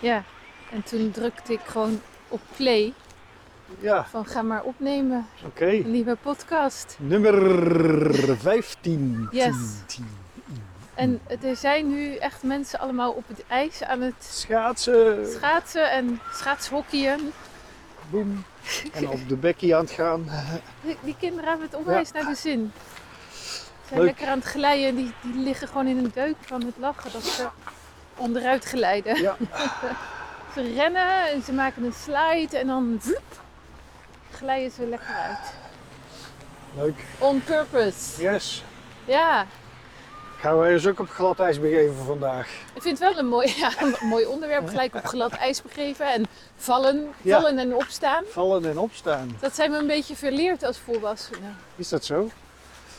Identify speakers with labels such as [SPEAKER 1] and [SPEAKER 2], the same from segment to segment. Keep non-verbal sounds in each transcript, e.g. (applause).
[SPEAKER 1] Ja, en toen drukte ik gewoon op play
[SPEAKER 2] Ja,
[SPEAKER 1] van ga maar opnemen,
[SPEAKER 2] oké.
[SPEAKER 1] een nieuwe podcast.
[SPEAKER 2] Nummer 15.
[SPEAKER 1] Yes.
[SPEAKER 2] 10.
[SPEAKER 1] En er zijn nu echt mensen allemaal op het ijs aan het
[SPEAKER 2] Schaatsen.
[SPEAKER 1] schaatsen en schaatshockeyen.
[SPEAKER 2] Boem. En op de bekkie aan het gaan.
[SPEAKER 1] Die, die kinderen hebben het onwijs naar de zin. Ze zijn
[SPEAKER 2] Leuk.
[SPEAKER 1] lekker aan het glijden, die, die liggen gewoon in een deuk van het lachen dat ze onderuit glijden.
[SPEAKER 2] Ja.
[SPEAKER 1] (laughs) ze rennen en ze maken een slide en dan vloep, glijden ze lekker uit.
[SPEAKER 2] Leuk.
[SPEAKER 1] On purpose.
[SPEAKER 2] Yes.
[SPEAKER 1] Ja,
[SPEAKER 2] Gaan wij eens ook op glad ijs begeven vandaag.
[SPEAKER 1] ik vind het wel een mooi, (laughs) ja, een mooi onderwerp. Gelijk op glad ijs begeven en vallen,
[SPEAKER 2] Ja.
[SPEAKER 1] vallen en opstaan.
[SPEAKER 2] Vallen en opstaan.
[SPEAKER 1] Dat zijn we een beetje verleerd als volwassenen. Nou,
[SPEAKER 2] Is dat zo?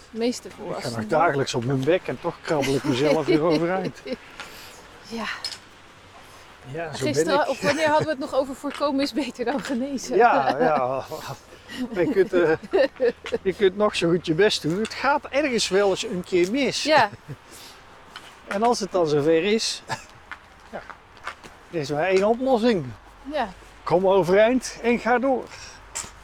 [SPEAKER 1] De meeste
[SPEAKER 2] Ik ga
[SPEAKER 1] volwassenen.
[SPEAKER 2] nog dagelijks op mijn bek en toch krabbel ik mezelf weer overeind.
[SPEAKER 1] (laughs) Ja,
[SPEAKER 2] Ja, zo
[SPEAKER 1] gisteren,
[SPEAKER 2] ben ik.
[SPEAKER 1] of wanneer hadden we het nog over voorkomen is beter dan genezen?
[SPEAKER 2] Ja, ja. Je kunt, eh, je kunt nog zo goed je best doen. Het gaat ergens wel eens een keer mis.
[SPEAKER 1] Ja,
[SPEAKER 2] En als het dan zover is, (laughs) ja, er is maar één oplossing.
[SPEAKER 1] ja,
[SPEAKER 2] Kom overeind en ga door.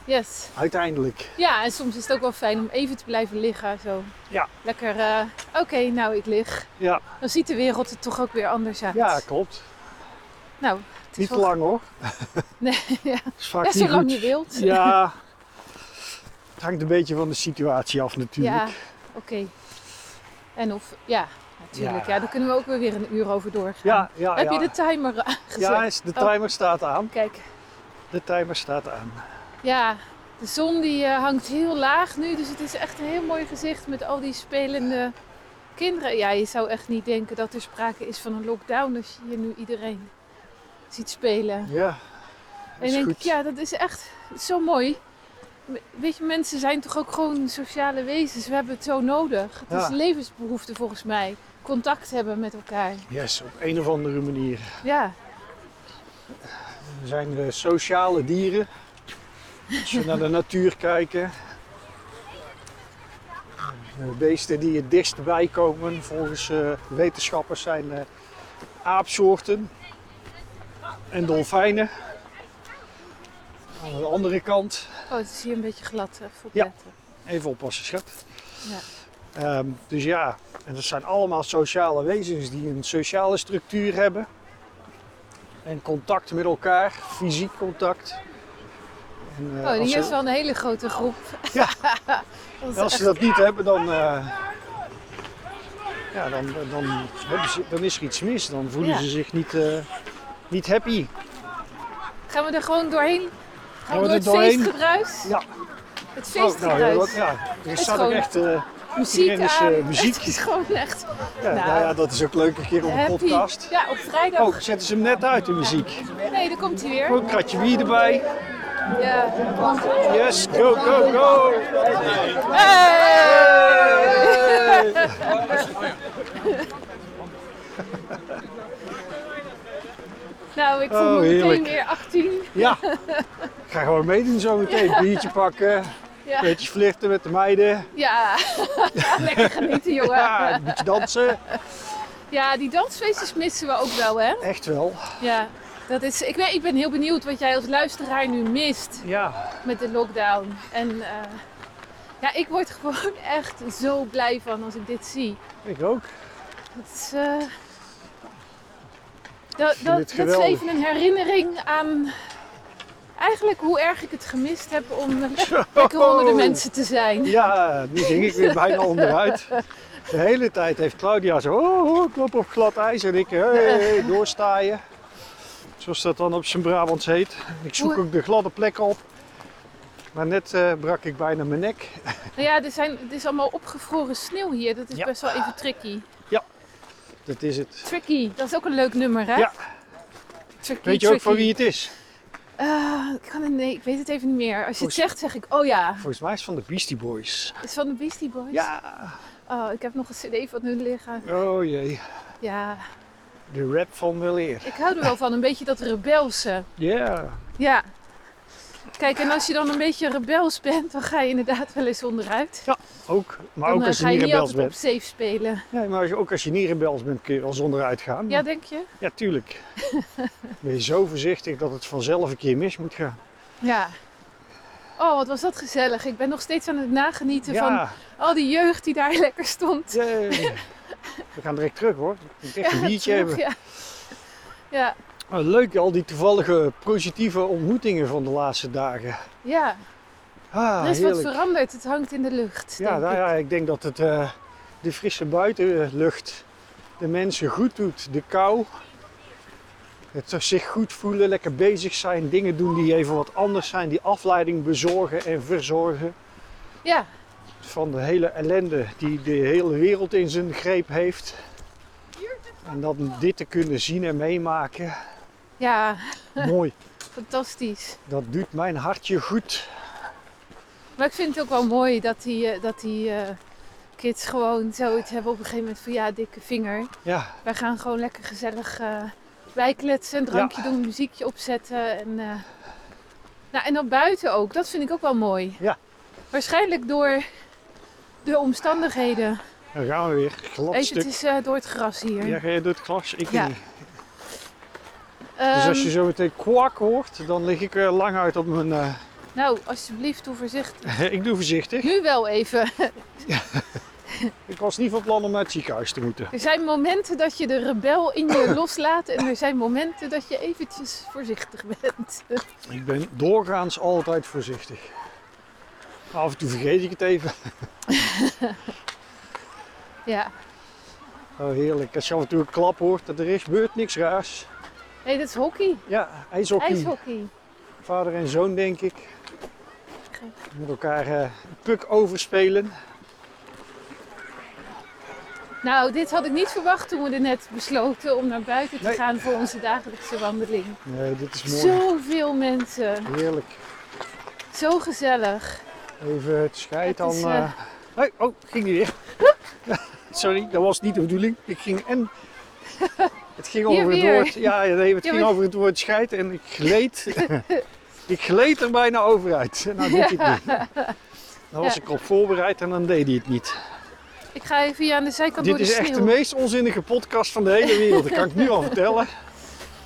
[SPEAKER 1] yes.
[SPEAKER 2] Uiteindelijk.
[SPEAKER 1] Ja, en soms is het ook wel fijn om even te blijven liggen. Zo.
[SPEAKER 2] Ja.
[SPEAKER 1] Lekker, eh, oké, nou ik lig.
[SPEAKER 2] Ja,
[SPEAKER 1] Dan ziet de wereld er toch ook weer anders uit.
[SPEAKER 2] ja klopt.
[SPEAKER 1] Nou, het is
[SPEAKER 2] Niet te
[SPEAKER 1] wel-
[SPEAKER 2] lang hoor.
[SPEAKER 1] (laughs) Nee,
[SPEAKER 2] (laughs)
[SPEAKER 1] ja.
[SPEAKER 2] Dat is vaak
[SPEAKER 1] ja,
[SPEAKER 2] niet
[SPEAKER 1] zolang
[SPEAKER 2] goed.
[SPEAKER 1] je wilt.
[SPEAKER 2] (laughs) Ja, het hangt een beetje van de situatie af natuurlijk.
[SPEAKER 1] Ja, oké. En of, ja, natuurlijk. Ja.
[SPEAKER 2] Ja.
[SPEAKER 1] daar kunnen we ook weer weer een uur over doorgaan.
[SPEAKER 2] ja, ja.
[SPEAKER 1] Heb
[SPEAKER 2] ja.
[SPEAKER 1] je Oh. de timer (laughs) aangezet?
[SPEAKER 2] Ja, is- de timer staat aan.
[SPEAKER 1] Kijk,
[SPEAKER 2] De timer staat aan.
[SPEAKER 1] ja, de zon die eh, hangt heel laag nu. Dus het is echt een heel mooi gezicht met al die spelende kinderen. Ja, je zou echt niet denken dat er sprake is van een lockdown als je hier nu iedereen ziet spelen.
[SPEAKER 2] Ja,
[SPEAKER 1] En
[SPEAKER 2] dat
[SPEAKER 1] dan
[SPEAKER 2] is
[SPEAKER 1] denk ik,
[SPEAKER 2] goed.
[SPEAKER 1] ja, dat is echt zo mooi. M- Weet je, mensen zijn toch ook gewoon sociale wezens. We hebben het zo nodig. Het
[SPEAKER 2] Ja.
[SPEAKER 1] is een levensbehoefte volgens mij. Contact hebben met elkaar.
[SPEAKER 2] Yes, op een of andere manier.
[SPEAKER 1] Ja,
[SPEAKER 2] We zijn eh, sociale dieren. Als we naar de natuur kijken. De beesten die het dichtst bijkomen volgens eh, wetenschappers zijn eh, aapsoorten en dolfijnen. Aan de andere kant,
[SPEAKER 1] oh, het is hier een beetje glad. hè, voor
[SPEAKER 2] Ja.
[SPEAKER 1] pletten.
[SPEAKER 2] even oppassen schat.
[SPEAKER 1] Ja.
[SPEAKER 2] Ehm, dus ja, en dat zijn allemaal sociale wezens die een sociale structuur hebben. En contact met elkaar, fysiek contact. En, eh,
[SPEAKER 1] oh, en
[SPEAKER 2] als
[SPEAKER 1] hier
[SPEAKER 2] ze-
[SPEAKER 1] is wel een hele grote groep.
[SPEAKER 2] Ja.
[SPEAKER 1] (laughs) dat is
[SPEAKER 2] En als
[SPEAKER 1] echt-
[SPEAKER 2] ze dat niet hebben, dan, eh, ja, dan, dan, hebben ze- dan is er iets mis. Dan voelen
[SPEAKER 1] Ja.
[SPEAKER 2] ze zich niet, eh, niet happy. Oh,
[SPEAKER 1] Gaan we er gewoon doorheen? Gaan we door
[SPEAKER 2] we
[SPEAKER 1] het
[SPEAKER 2] er doorheen?
[SPEAKER 1] feestgedruis?
[SPEAKER 2] Ja.
[SPEAKER 1] Het
[SPEAKER 2] Oh, nou, ja,
[SPEAKER 1] feestgedruis.
[SPEAKER 2] dat- ja, er staat
[SPEAKER 1] gewoon
[SPEAKER 2] ook echt eh,
[SPEAKER 1] muziek
[SPEAKER 2] iedereen is,
[SPEAKER 1] aan.
[SPEAKER 2] eh, muziek.
[SPEAKER 1] (laughs) Het is gewoon echt
[SPEAKER 2] ja, nou,
[SPEAKER 1] Nou,
[SPEAKER 2] ja, dat is ook leuk een keer op een
[SPEAKER 1] happy.
[SPEAKER 2] podcast.
[SPEAKER 1] Ja, op vrijdag.
[SPEAKER 2] Oh, zetten ze hem net uit, de muziek.
[SPEAKER 1] Nee, daar komt hij weer.
[SPEAKER 2] Ook een kratje bier erbij.
[SPEAKER 1] Ja.
[SPEAKER 2] Yes, go, go, go!
[SPEAKER 1] Hey! nou, ik voel
[SPEAKER 2] Oh,
[SPEAKER 1] me meteen
[SPEAKER 2] heerlijk.
[SPEAKER 1] weer 18.
[SPEAKER 2] Ja, ik ga gewoon meedoen zo meteen. Biertje pakken,
[SPEAKER 1] Ja,
[SPEAKER 2] beetje flirten met de meiden.
[SPEAKER 1] ja. (laughs) lekker
[SPEAKER 2] (laughs)
[SPEAKER 1] genieten, jongen.
[SPEAKER 2] Ja, een beetje dansen.
[SPEAKER 1] Ja, die dansfeestjes missen we ook wel, hè?
[SPEAKER 2] Echt wel.
[SPEAKER 1] Ja. Dat is, ik, weet, ik ben heel benieuwd wat jij als luisteraar nu mist
[SPEAKER 2] Ja,
[SPEAKER 1] met de lockdown. En eh, ja, ik word (laughs) gewoon echt zo blij van als ik dit zie.
[SPEAKER 2] ik ook.
[SPEAKER 1] Dat is, eh, dat,
[SPEAKER 2] vind
[SPEAKER 1] dat,
[SPEAKER 2] het
[SPEAKER 1] dat is
[SPEAKER 2] geweldig.
[SPEAKER 1] even een herinnering aan eigenlijk hoe erg ik het gemist heb
[SPEAKER 2] (laughs)
[SPEAKER 1] om lekker onder
[SPEAKER 2] Oh.
[SPEAKER 1] de mensen te zijn.
[SPEAKER 2] Ja, nu ging ik weer bijna onderuit. De hele tijd heeft Claudia zo, oh, oh, klop op glad ijs. En ik, hey, hey, doorstaaien. Zoals dat dan op zijn Brabants heet. Ik zoek ook de gladde plekken op. Maar net eh, brak ik bijna mijn nek.
[SPEAKER 1] Nou ja, er, zijn, het is allemaal opgevroren sneeuw hier. Dat is
[SPEAKER 2] Ja.
[SPEAKER 1] best wel even tricky.
[SPEAKER 2] Dat is het.
[SPEAKER 1] Tricky, dat is ook een leuk nummer, hè?
[SPEAKER 2] Ja.
[SPEAKER 1] Tricky,
[SPEAKER 2] Weet je ook
[SPEAKER 1] tricky.
[SPEAKER 2] van wie het is?
[SPEAKER 1] Eh, ik, kan het, nee, ik weet het even niet meer. Als je het
[SPEAKER 2] Volgens-
[SPEAKER 1] zegt, zeg ik, oh ja,
[SPEAKER 2] Volgens mij is het van de Beastie Boys.
[SPEAKER 1] het is van de Beastie Boys.
[SPEAKER 2] Ja,
[SPEAKER 1] Oh, ik heb nog een cd van hun liggen.
[SPEAKER 2] oh jee.
[SPEAKER 1] Ja,
[SPEAKER 2] De rap van weleer.
[SPEAKER 1] ik hou er wel van. Een beetje dat rebelse.
[SPEAKER 2] Ja,
[SPEAKER 1] Ja. Kijk, en als je dan een beetje rebels bent, dan ga je inderdaad wel eens onderuit.
[SPEAKER 2] Ook, maar
[SPEAKER 1] dan
[SPEAKER 2] ook
[SPEAKER 1] eh,
[SPEAKER 2] als je
[SPEAKER 1] ga
[SPEAKER 2] niet
[SPEAKER 1] je niet
[SPEAKER 2] rebels
[SPEAKER 1] altijd op
[SPEAKER 2] bent.
[SPEAKER 1] safe spelen.
[SPEAKER 2] Nee, maar als je, ook als je niet rebels bent kun je wel zonder uitgaan.
[SPEAKER 1] Ja, denk je?
[SPEAKER 2] Ja,
[SPEAKER 1] (laughs)
[SPEAKER 2] tuurlijk. ben je zo voorzichtig dat het vanzelf een keer mis moet gaan.
[SPEAKER 1] Ja. Oh, wat was dat gezellig. Ik ben nog steeds aan het nagenieten van
[SPEAKER 2] Ja,
[SPEAKER 1] al die jeugd die daar (laughs) lekker stond.
[SPEAKER 2] jee. we gaan direct terug hoor. Ik moet echt een biertje
[SPEAKER 1] terug,
[SPEAKER 2] hebben.
[SPEAKER 1] ja. ja,
[SPEAKER 2] Ah, Leuk, al die toevallige positieve ontmoetingen van de laatste dagen.
[SPEAKER 1] ja.
[SPEAKER 2] Ah,
[SPEAKER 1] Er is
[SPEAKER 2] heerlijk.
[SPEAKER 1] wat veranderd. Het hangt in de lucht.
[SPEAKER 2] ja,
[SPEAKER 1] denk
[SPEAKER 2] nou
[SPEAKER 1] ik.
[SPEAKER 2] ja, ik denk dat het, eh, de frisse buitenlucht de mensen goed doet. De kou, het zich goed voelen, lekker bezig zijn, dingen doen die even wat anders zijn, die afleiding bezorgen en verzorgen
[SPEAKER 1] ja.
[SPEAKER 2] van de hele ellende die de hele wereld in zijn greep heeft. En dan dit te kunnen zien en
[SPEAKER 1] (laughs)
[SPEAKER 2] meemaken,
[SPEAKER 1] ja,
[SPEAKER 2] mooi.
[SPEAKER 1] fantastisch.
[SPEAKER 2] Dat doet mijn hartje goed.
[SPEAKER 1] Maar ik vind het ook wel mooi dat die, eh, dat die eh, kids gewoon zoiets hebben op een gegeven moment van ja, dikke vinger.
[SPEAKER 2] Ja,
[SPEAKER 1] Wij gaan gewoon lekker gezellig eh bijkletsen, een drankje doen, muziekje opzetten. En, eh, nou, en dan buiten ook, dat vind ik ook wel mooi.
[SPEAKER 2] Ja.
[SPEAKER 1] Waarschijnlijk door de omstandigheden.
[SPEAKER 2] dan gaan we weer. Glad
[SPEAKER 1] Even,
[SPEAKER 2] stuk.
[SPEAKER 1] het is eh, door het gras hier.
[SPEAKER 2] Ja, ga je door het glas? Ik
[SPEAKER 1] Ja.
[SPEAKER 2] niet. Dus als je
[SPEAKER 1] Ehm,
[SPEAKER 2] zo meteen kwak hoort, dan lig ik er lang uit op mijn... eh, (laughs)
[SPEAKER 1] Nou, alsjeblieft, doe voorzichtig.
[SPEAKER 2] ik doe voorzichtig.
[SPEAKER 1] Nu wel even.
[SPEAKER 2] Ik was niet van plan om naar het ziekenhuis te moeten.
[SPEAKER 1] Er zijn momenten dat je de rebel in
[SPEAKER 2] (coughs)
[SPEAKER 1] je loslaat en er zijn momenten dat je eventjes voorzichtig bent. (laughs)
[SPEAKER 2] Ik ben doorgaans altijd voorzichtig. Maar af en toe vergeet ik het even.
[SPEAKER 1] Ja,
[SPEAKER 2] Oh, heerlijk. Als je af en toe een klap hoort, dat er is, gebeurt niks raars.
[SPEAKER 1] hey, dat is hockey,
[SPEAKER 2] Ja, ijshockey.
[SPEAKER 1] ijshockey.
[SPEAKER 2] Vader en zoon, denk ik. Met elkaar eh, een puk overspelen.
[SPEAKER 1] Nou, dit had ik niet verwacht toen we er net besloten om naar buiten te
[SPEAKER 2] Nee.
[SPEAKER 1] gaan voor onze dagelijkse wandeling.
[SPEAKER 2] Nee, Eh, dit is mooi.
[SPEAKER 1] Zoveel mensen,
[SPEAKER 2] Heerlijk.
[SPEAKER 1] zo gezellig.
[SPEAKER 2] Even het scheid
[SPEAKER 1] Het
[SPEAKER 2] dan.
[SPEAKER 1] is,
[SPEAKER 2] eh,
[SPEAKER 1] eh,
[SPEAKER 2] hey, oh, ging die weer. (laughs) Sorry, dat was niet de bedoeling. Ik ging en. Het ging
[SPEAKER 1] Hier
[SPEAKER 2] over het
[SPEAKER 1] weer.
[SPEAKER 2] woord. Ja, ja, nee,
[SPEAKER 1] (laughs)
[SPEAKER 2] het
[SPEAKER 1] Ja,
[SPEAKER 2] ging
[SPEAKER 1] maar-
[SPEAKER 2] over het woord scheid en ik
[SPEAKER 1] (laughs)
[SPEAKER 2] gleed. ik gleed er bijna over uit. (laughs) Nou doet hij
[SPEAKER 1] (laughs)
[SPEAKER 2] het niet. Dan was
[SPEAKER 1] Ja.
[SPEAKER 2] ik op voorbereid en dan deed hij het niet.
[SPEAKER 1] Ik ga even hier aan de zijkant
[SPEAKER 2] Dit
[SPEAKER 1] door
[SPEAKER 2] is
[SPEAKER 1] de
[SPEAKER 2] echt de
[SPEAKER 1] sneeuw.
[SPEAKER 2] meest onzinnige podcast van de hele wereld. Dat kan ik
[SPEAKER 1] (laughs)
[SPEAKER 2] nu al vertellen. We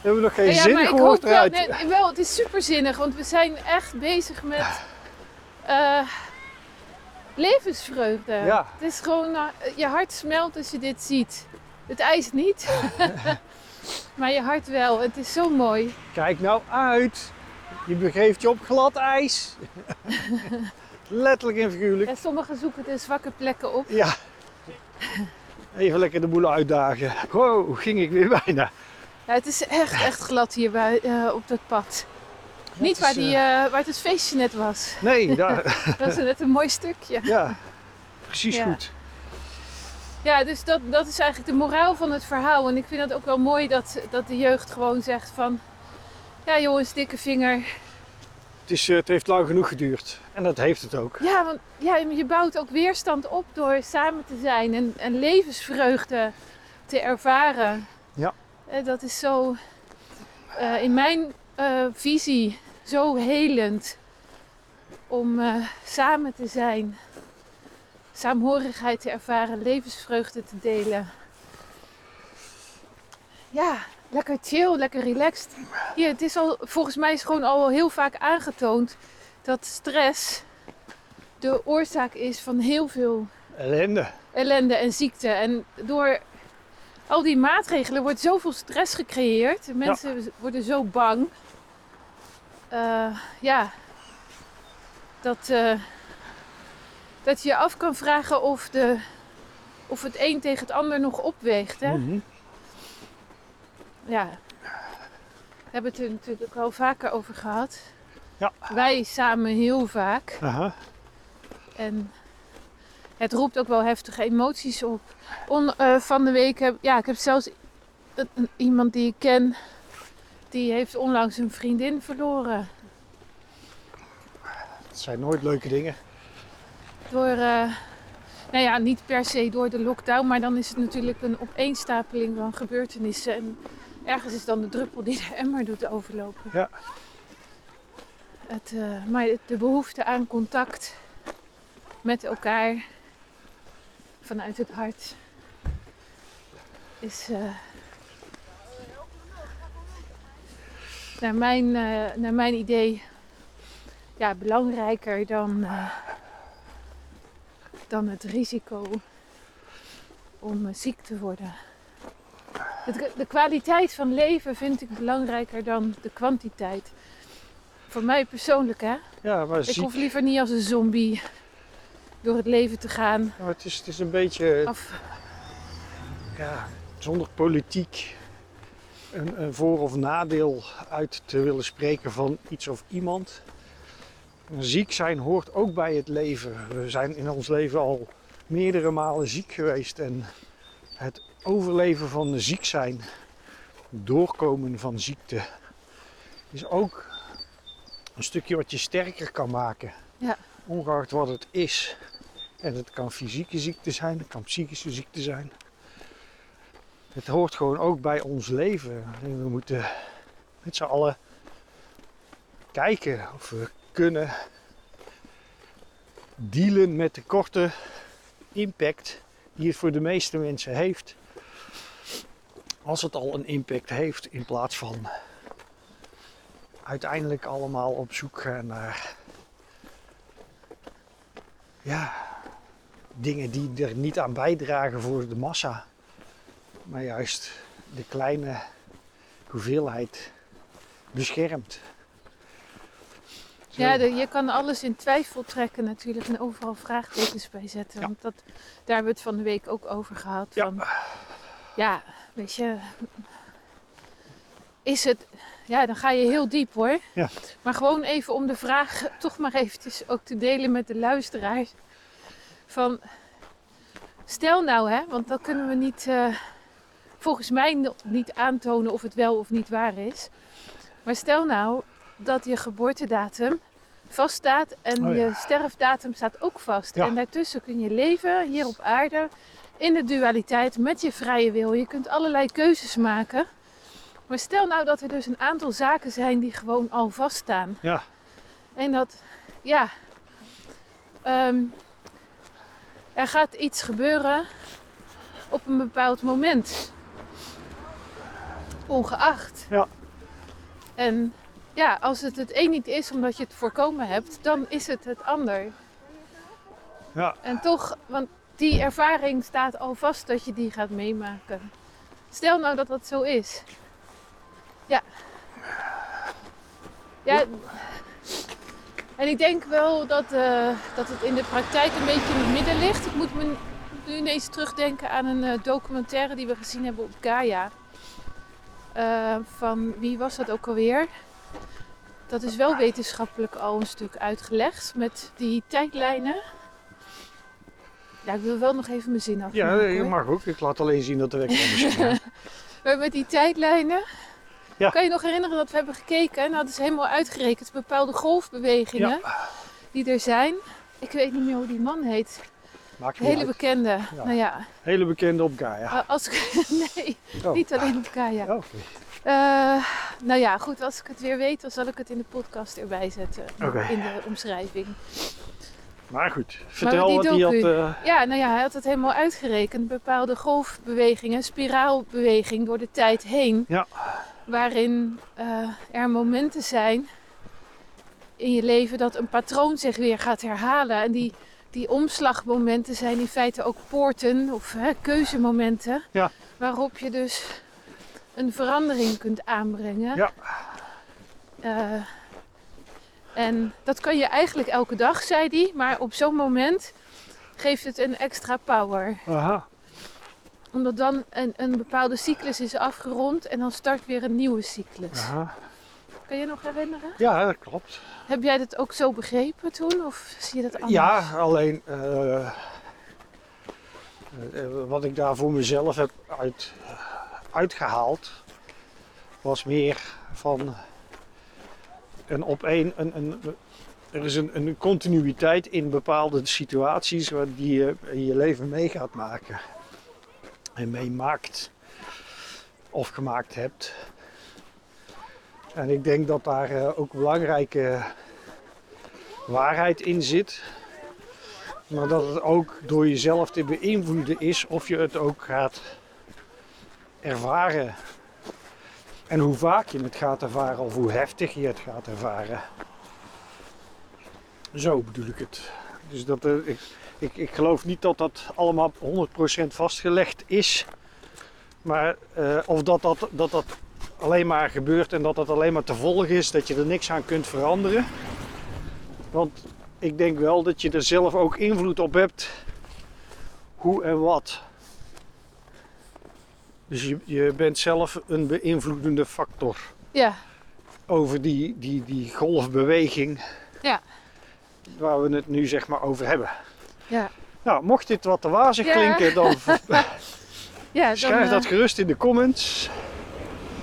[SPEAKER 2] hebben nog geen
[SPEAKER 1] Nou ja,
[SPEAKER 2] zin
[SPEAKER 1] maar ik hoop
[SPEAKER 2] gehoord
[SPEAKER 1] wel,
[SPEAKER 2] eruit.
[SPEAKER 1] nee, wel, het is superzinnig, want we zijn echt bezig met eh, levensvreugde.
[SPEAKER 2] Ja.
[SPEAKER 1] Het is gewoon, eh, je hart smelt als je dit ziet. Het ijs niet,
[SPEAKER 2] (laughs)
[SPEAKER 1] maar je hart wel. Het is zo mooi.
[SPEAKER 2] Kijk nou uit. Je begeeft je op glad
[SPEAKER 1] (laughs)
[SPEAKER 2] ijs. Letterlijk en figuurlijk.
[SPEAKER 1] En sommigen zoeken de zwakke plekken op.
[SPEAKER 2] Ja. Even lekker de boel uitdagen. Wow, ging ik weer bijna.
[SPEAKER 1] Ja, het is echt, echt glad hier bij, eh, op dat pad. Niet
[SPEAKER 2] is,
[SPEAKER 1] waar, die, eh, waar het feestje net was. (laughs)
[SPEAKER 2] Nee, daar,
[SPEAKER 1] Dat is net een mooi stukje.
[SPEAKER 2] ja. Precies
[SPEAKER 1] Ja.
[SPEAKER 2] goed.
[SPEAKER 1] Ja, dus dat, dat is eigenlijk de moraal van het verhaal. En ik vind dat ook wel mooi dat, dat de jeugd gewoon zegt van... Ja jongens, dikke vinger.
[SPEAKER 2] Het, is, eh, het heeft lang genoeg geduurd. En dat heeft het ook.
[SPEAKER 1] Ja, want ja, je bouwt ook weerstand op door samen te zijn en, en levensvreugde te ervaren.
[SPEAKER 2] Ja.
[SPEAKER 1] Eh, Dat is zo, eh, in mijn eh, visie, zo helend om eh, samen te zijn. Saamhorigheid te ervaren, levensvreugde te delen. Ja, lekker chill, lekker relaxed. Hier, het is al, volgens mij is gewoon al heel vaak aangetoond dat stress de oorzaak is van heel veel
[SPEAKER 2] Ellende.
[SPEAKER 1] ellende en ziekte. En door al die maatregelen wordt zoveel stress gecreëerd. De Mensen worden zo bang. Eh, ja. Dat, eh, dat je je af kan vragen of, de, of het een tegen het ander nog opweegt. Hè?
[SPEAKER 2] Mhm.
[SPEAKER 1] Ja. We hebben het er natuurlijk ook wel vaker over gehad.
[SPEAKER 2] Ja.
[SPEAKER 1] Wij samen heel vaak.
[SPEAKER 2] Aha.
[SPEAKER 1] En het roept ook wel heftige emoties op. On- eh, van de week heb ja, ik heb zelfs een- een- iemand die ik ken, die heeft onlangs een vriendin verloren.
[SPEAKER 2] Het zijn nooit leuke dingen.
[SPEAKER 1] Door, eh, nou ja, niet per se door de lockdown, maar dan is het natuurlijk een opeenstapeling van gebeurtenissen. En ergens is dan de druppel die de emmer doet overlopen.
[SPEAKER 2] Ja.
[SPEAKER 1] Eh, Het, eh, maar de behoefte aan contact met elkaar vanuit het hart is eh, naar, mijn, eh, naar mijn idee ja, belangrijker dan, eh, dan het risico om eh, ziek te worden. Het- de kwaliteit van leven vind ik belangrijker dan de kwantiteit. Voor mij persoonlijk, hè?
[SPEAKER 2] Ja, maar
[SPEAKER 1] Ik
[SPEAKER 2] ziek.
[SPEAKER 1] hoef liever niet als een zombie door het leven te gaan.
[SPEAKER 2] Maar het, is, het is een beetje
[SPEAKER 1] Of,
[SPEAKER 2] ja, zonder politiek een, een voor- of nadeel uit te willen spreken van iets of iemand. Ziek zijn hoort ook bij het leven. We zijn in ons leven al meerdere malen ziek geweest en het overleven van ziek zijn, doorkomen van ziekte, is ook een stukje wat je sterker kan maken.
[SPEAKER 1] Ja.
[SPEAKER 2] Ongeacht wat het is. En het kan fysieke ziekte zijn, het kan psychische ziekte zijn. Het hoort gewoon ook bij ons leven. En we moeten met z'n allen kijken of we kunnen dealen met de korte impact die het voor de meeste mensen heeft. Als het al een impact heeft, in plaats van uiteindelijk allemaal op zoek gaan naar ja, dingen die er niet aan bijdragen voor de massa maar juist de kleine hoeveelheid beschermt. Zo.
[SPEAKER 1] ja, de- je kan alles in twijfel trekken natuurlijk en overal vraagtekens bij zetten.
[SPEAKER 2] Ja.
[SPEAKER 1] Want dat, daar hebben we het van de week ook over gehad.
[SPEAKER 2] Ja.
[SPEAKER 1] Van, ja, weet je, is het... Ja, dan ga je heel diep hoor.
[SPEAKER 2] Ja.
[SPEAKER 1] Maar gewoon even om de vraag toch maar eventjes ook te delen met de luisteraars. Van, stel nou hè, want dan kunnen we niet... eh, volgens mij no- niet aantonen of het wel of niet waar is. Maar stel nou dat je geboortedatum vaststaat en
[SPEAKER 2] Oh ja.
[SPEAKER 1] je sterfdatum staat ook vast.
[SPEAKER 2] Ja.
[SPEAKER 1] En daartussen kun je leven hier op aarde in de dualiteit met je vrije wil. Je kunt allerlei keuzes maken. Maar stel nou dat er dus een aantal zaken zijn die gewoon al vaststaan.
[SPEAKER 2] Ja.
[SPEAKER 1] En dat, ja, ehm, er gaat iets gebeuren op een bepaald moment. Ongeacht.
[SPEAKER 2] Ja.
[SPEAKER 1] En ja, als het het een niet is omdat je het voorkomen hebt, dan is het het ander.
[SPEAKER 2] Ja.
[SPEAKER 1] En toch, want die ervaring staat al vast dat je die gaat meemaken. Stel nou dat dat zo is. Ja. Ja. En ik denk wel dat, eh, dat het in de praktijk een beetje in het midden ligt. Ik moet me nu ineens terugdenken aan een eh, documentaire die we gezien hebben op Gaia. Eh, van wie was dat ook alweer? Dat is wel wetenschappelijk al een stuk uitgelegd met die tijdlijnen. Ja, ik wil wel nog even mijn zin
[SPEAKER 2] Ja,
[SPEAKER 1] afmaken.
[SPEAKER 2] je
[SPEAKER 1] hoor.
[SPEAKER 2] mag ook. Ik laat alleen zien dat de wekker anders is.
[SPEAKER 1] (laughs) Maar met die tijdlijnen.
[SPEAKER 2] Ja.
[SPEAKER 1] Kan je nog herinneren dat we hebben gekeken en hadden ze helemaal uitgerekend bepaalde golfbewegingen die er zijn. Ik weet niet meer hoe die man heet.
[SPEAKER 2] Maakt
[SPEAKER 1] Een
[SPEAKER 2] niet
[SPEAKER 1] hele
[SPEAKER 2] hele,
[SPEAKER 1] bekende.
[SPEAKER 2] Ja.
[SPEAKER 1] Nou ja,
[SPEAKER 2] hele bekende op Gaia.
[SPEAKER 1] eh, als ik. (laughs) Nee,
[SPEAKER 2] Oh.
[SPEAKER 1] niet alleen op Kaya.
[SPEAKER 2] Oh, Oké.
[SPEAKER 1] Eh, nou ja, goed, als ik het weer weet, dan zal ik het in de podcast erbij zetten.
[SPEAKER 2] Oké.
[SPEAKER 1] In de omschrijving.
[SPEAKER 2] Maar goed, vertel
[SPEAKER 1] die
[SPEAKER 2] wat die had.
[SPEAKER 1] docu.
[SPEAKER 2] eh,
[SPEAKER 1] Ja, nou ja, hij had het helemaal uitgerekend. Bepaalde golfbewegingen, spiraalbeweging door de tijd heen.
[SPEAKER 2] Ja.
[SPEAKER 1] Waarin eh, er momenten zijn in je leven dat een patroon zich weer gaat herhalen. En die, die omslagmomenten zijn in feite ook poorten of hè, keuzemomenten.
[SPEAKER 2] Ja.
[SPEAKER 1] Waarop je dus een verandering kunt aanbrengen.
[SPEAKER 2] Ja.
[SPEAKER 1] Eh, en dat kan je eigenlijk elke dag, zei hij. Maar op zo'n moment geeft het een extra power.
[SPEAKER 2] aha,
[SPEAKER 1] Omdat dan een, een bepaalde cyclus is afgerond en dan start weer een nieuwe cyclus.
[SPEAKER 2] aha.
[SPEAKER 1] Kan je nog herinneren?
[SPEAKER 2] Ja, dat klopt.
[SPEAKER 1] Heb jij dat ook zo begrepen toen? Of zie je dat anders?
[SPEAKER 2] Ja, alleen eh, eh, wat ik daar voor mezelf heb uit, uitgehaald, was meer van een op een, een, een er is een, een continuïteit in bepaalde situaties waar die je in je leven mee gaat maken en meemaakt of gemaakt hebt. En ik denk dat daar eh, ook belangrijke waarheid in zit. Maar dat het ook door jezelf te beïnvloeden is of je het ook gaat ervaren. En hoe vaak je het gaat ervaren of hoe heftig je het gaat ervaren. Zo bedoel ik het. Dus dat, eh, ik, ik, ik geloof niet dat dat allemaal 100% vastgelegd is. Maar eh, of dat dat, dat dat alleen maar gebeurt en dat dat alleen maar te volgen is, dat je er niks aan kunt veranderen. Want ik denk wel dat je er zelf ook invloed op hebt hoe en wat. Dus je, je bent zelf een beïnvloedende factor
[SPEAKER 1] Ja,
[SPEAKER 2] over die, die, die golfbeweging.
[SPEAKER 1] Ja.
[SPEAKER 2] Waar we het nu zeg maar over hebben.
[SPEAKER 1] ja.
[SPEAKER 2] Nou, mocht dit wat te wazig
[SPEAKER 1] Ja.
[SPEAKER 2] klinken,
[SPEAKER 1] (laughs)
[SPEAKER 2] dan
[SPEAKER 1] ja dan,
[SPEAKER 2] schrijf dat
[SPEAKER 1] eh,
[SPEAKER 2] gerust in de comments.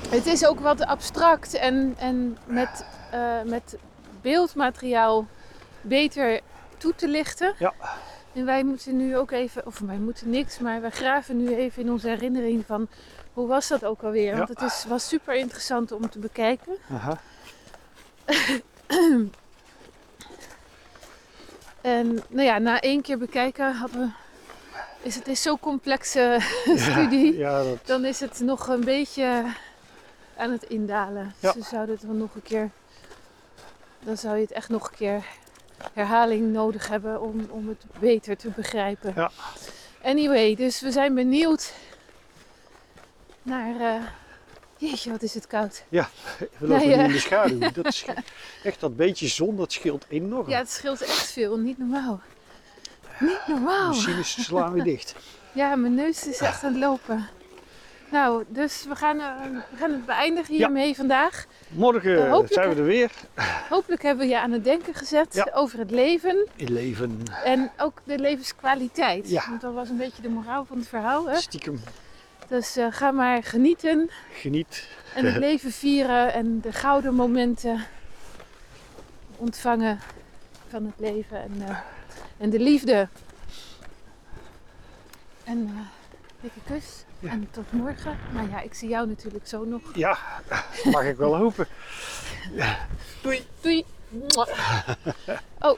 [SPEAKER 1] het is ook wat abstract en, en met, eh, met beeldmateriaal beter toe te lichten.
[SPEAKER 2] Ja.
[SPEAKER 1] En wij moeten nu ook even, of wij moeten niks, maar wij graven nu even in onze herinnering van hoe was dat ook alweer.
[SPEAKER 2] Ja.
[SPEAKER 1] Want het is, was super interessant om te bekijken.
[SPEAKER 2] Aha.
[SPEAKER 1] En nou ja, na één keer bekijken hadden we. Is het is zo'n complexe (laughs) studie.
[SPEAKER 2] Ja, dat,
[SPEAKER 1] (laughs) Dan is het nog een beetje aan het indalen.
[SPEAKER 2] Ja.
[SPEAKER 1] Dus we zouden het wel nog een keer. Dan zou je het echt nog een keer herhaling nodig hebben om, om het beter te begrijpen.
[SPEAKER 2] Ja.
[SPEAKER 1] Anyway, dus we zijn benieuwd naar. eh, jeetje, wat is het koud?
[SPEAKER 2] we
[SPEAKER 1] Nee,
[SPEAKER 2] lopen nu
[SPEAKER 1] eh.
[SPEAKER 2] in de
[SPEAKER 1] (laughs)
[SPEAKER 2] schaduw. Dat is, echt dat beetje zon, dat scheelt enorm.
[SPEAKER 1] Ja, het scheelt echt veel. Niet normaal. Niet normaal.
[SPEAKER 2] Misschien slaan we dicht.
[SPEAKER 1] Ja, mijn neus is echt aan het lopen. Nou, dus we gaan, eh, we gaan het beëindigen hiermee vandaag.
[SPEAKER 2] Morgen
[SPEAKER 1] Eh, hopelijk-
[SPEAKER 2] zijn we er weer.
[SPEAKER 1] Hopelijk hebben we je aan het denken gezet
[SPEAKER 2] Ja.
[SPEAKER 1] over het leven
[SPEAKER 2] In leven.
[SPEAKER 1] en ook de levenskwaliteit.
[SPEAKER 2] Ja.
[SPEAKER 1] Want dat was een beetje de moraal van het verhaal. Hè?
[SPEAKER 2] Stiekem
[SPEAKER 1] Dus eh, ga maar genieten
[SPEAKER 2] geniet.
[SPEAKER 1] en
[SPEAKER 2] (laughs)
[SPEAKER 1] het leven vieren en de gouden momenten ontvangen van het leven en, eh, en de liefde. En eh, dikke kus
[SPEAKER 2] Ja.
[SPEAKER 1] en tot morgen. Nou ja, ik zie jou natuurlijk zo nog.
[SPEAKER 2] Ja, mag ik wel hopen.
[SPEAKER 1] 어. (laughs) Doei. Doei. Oh,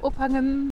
[SPEAKER 1] ophangen.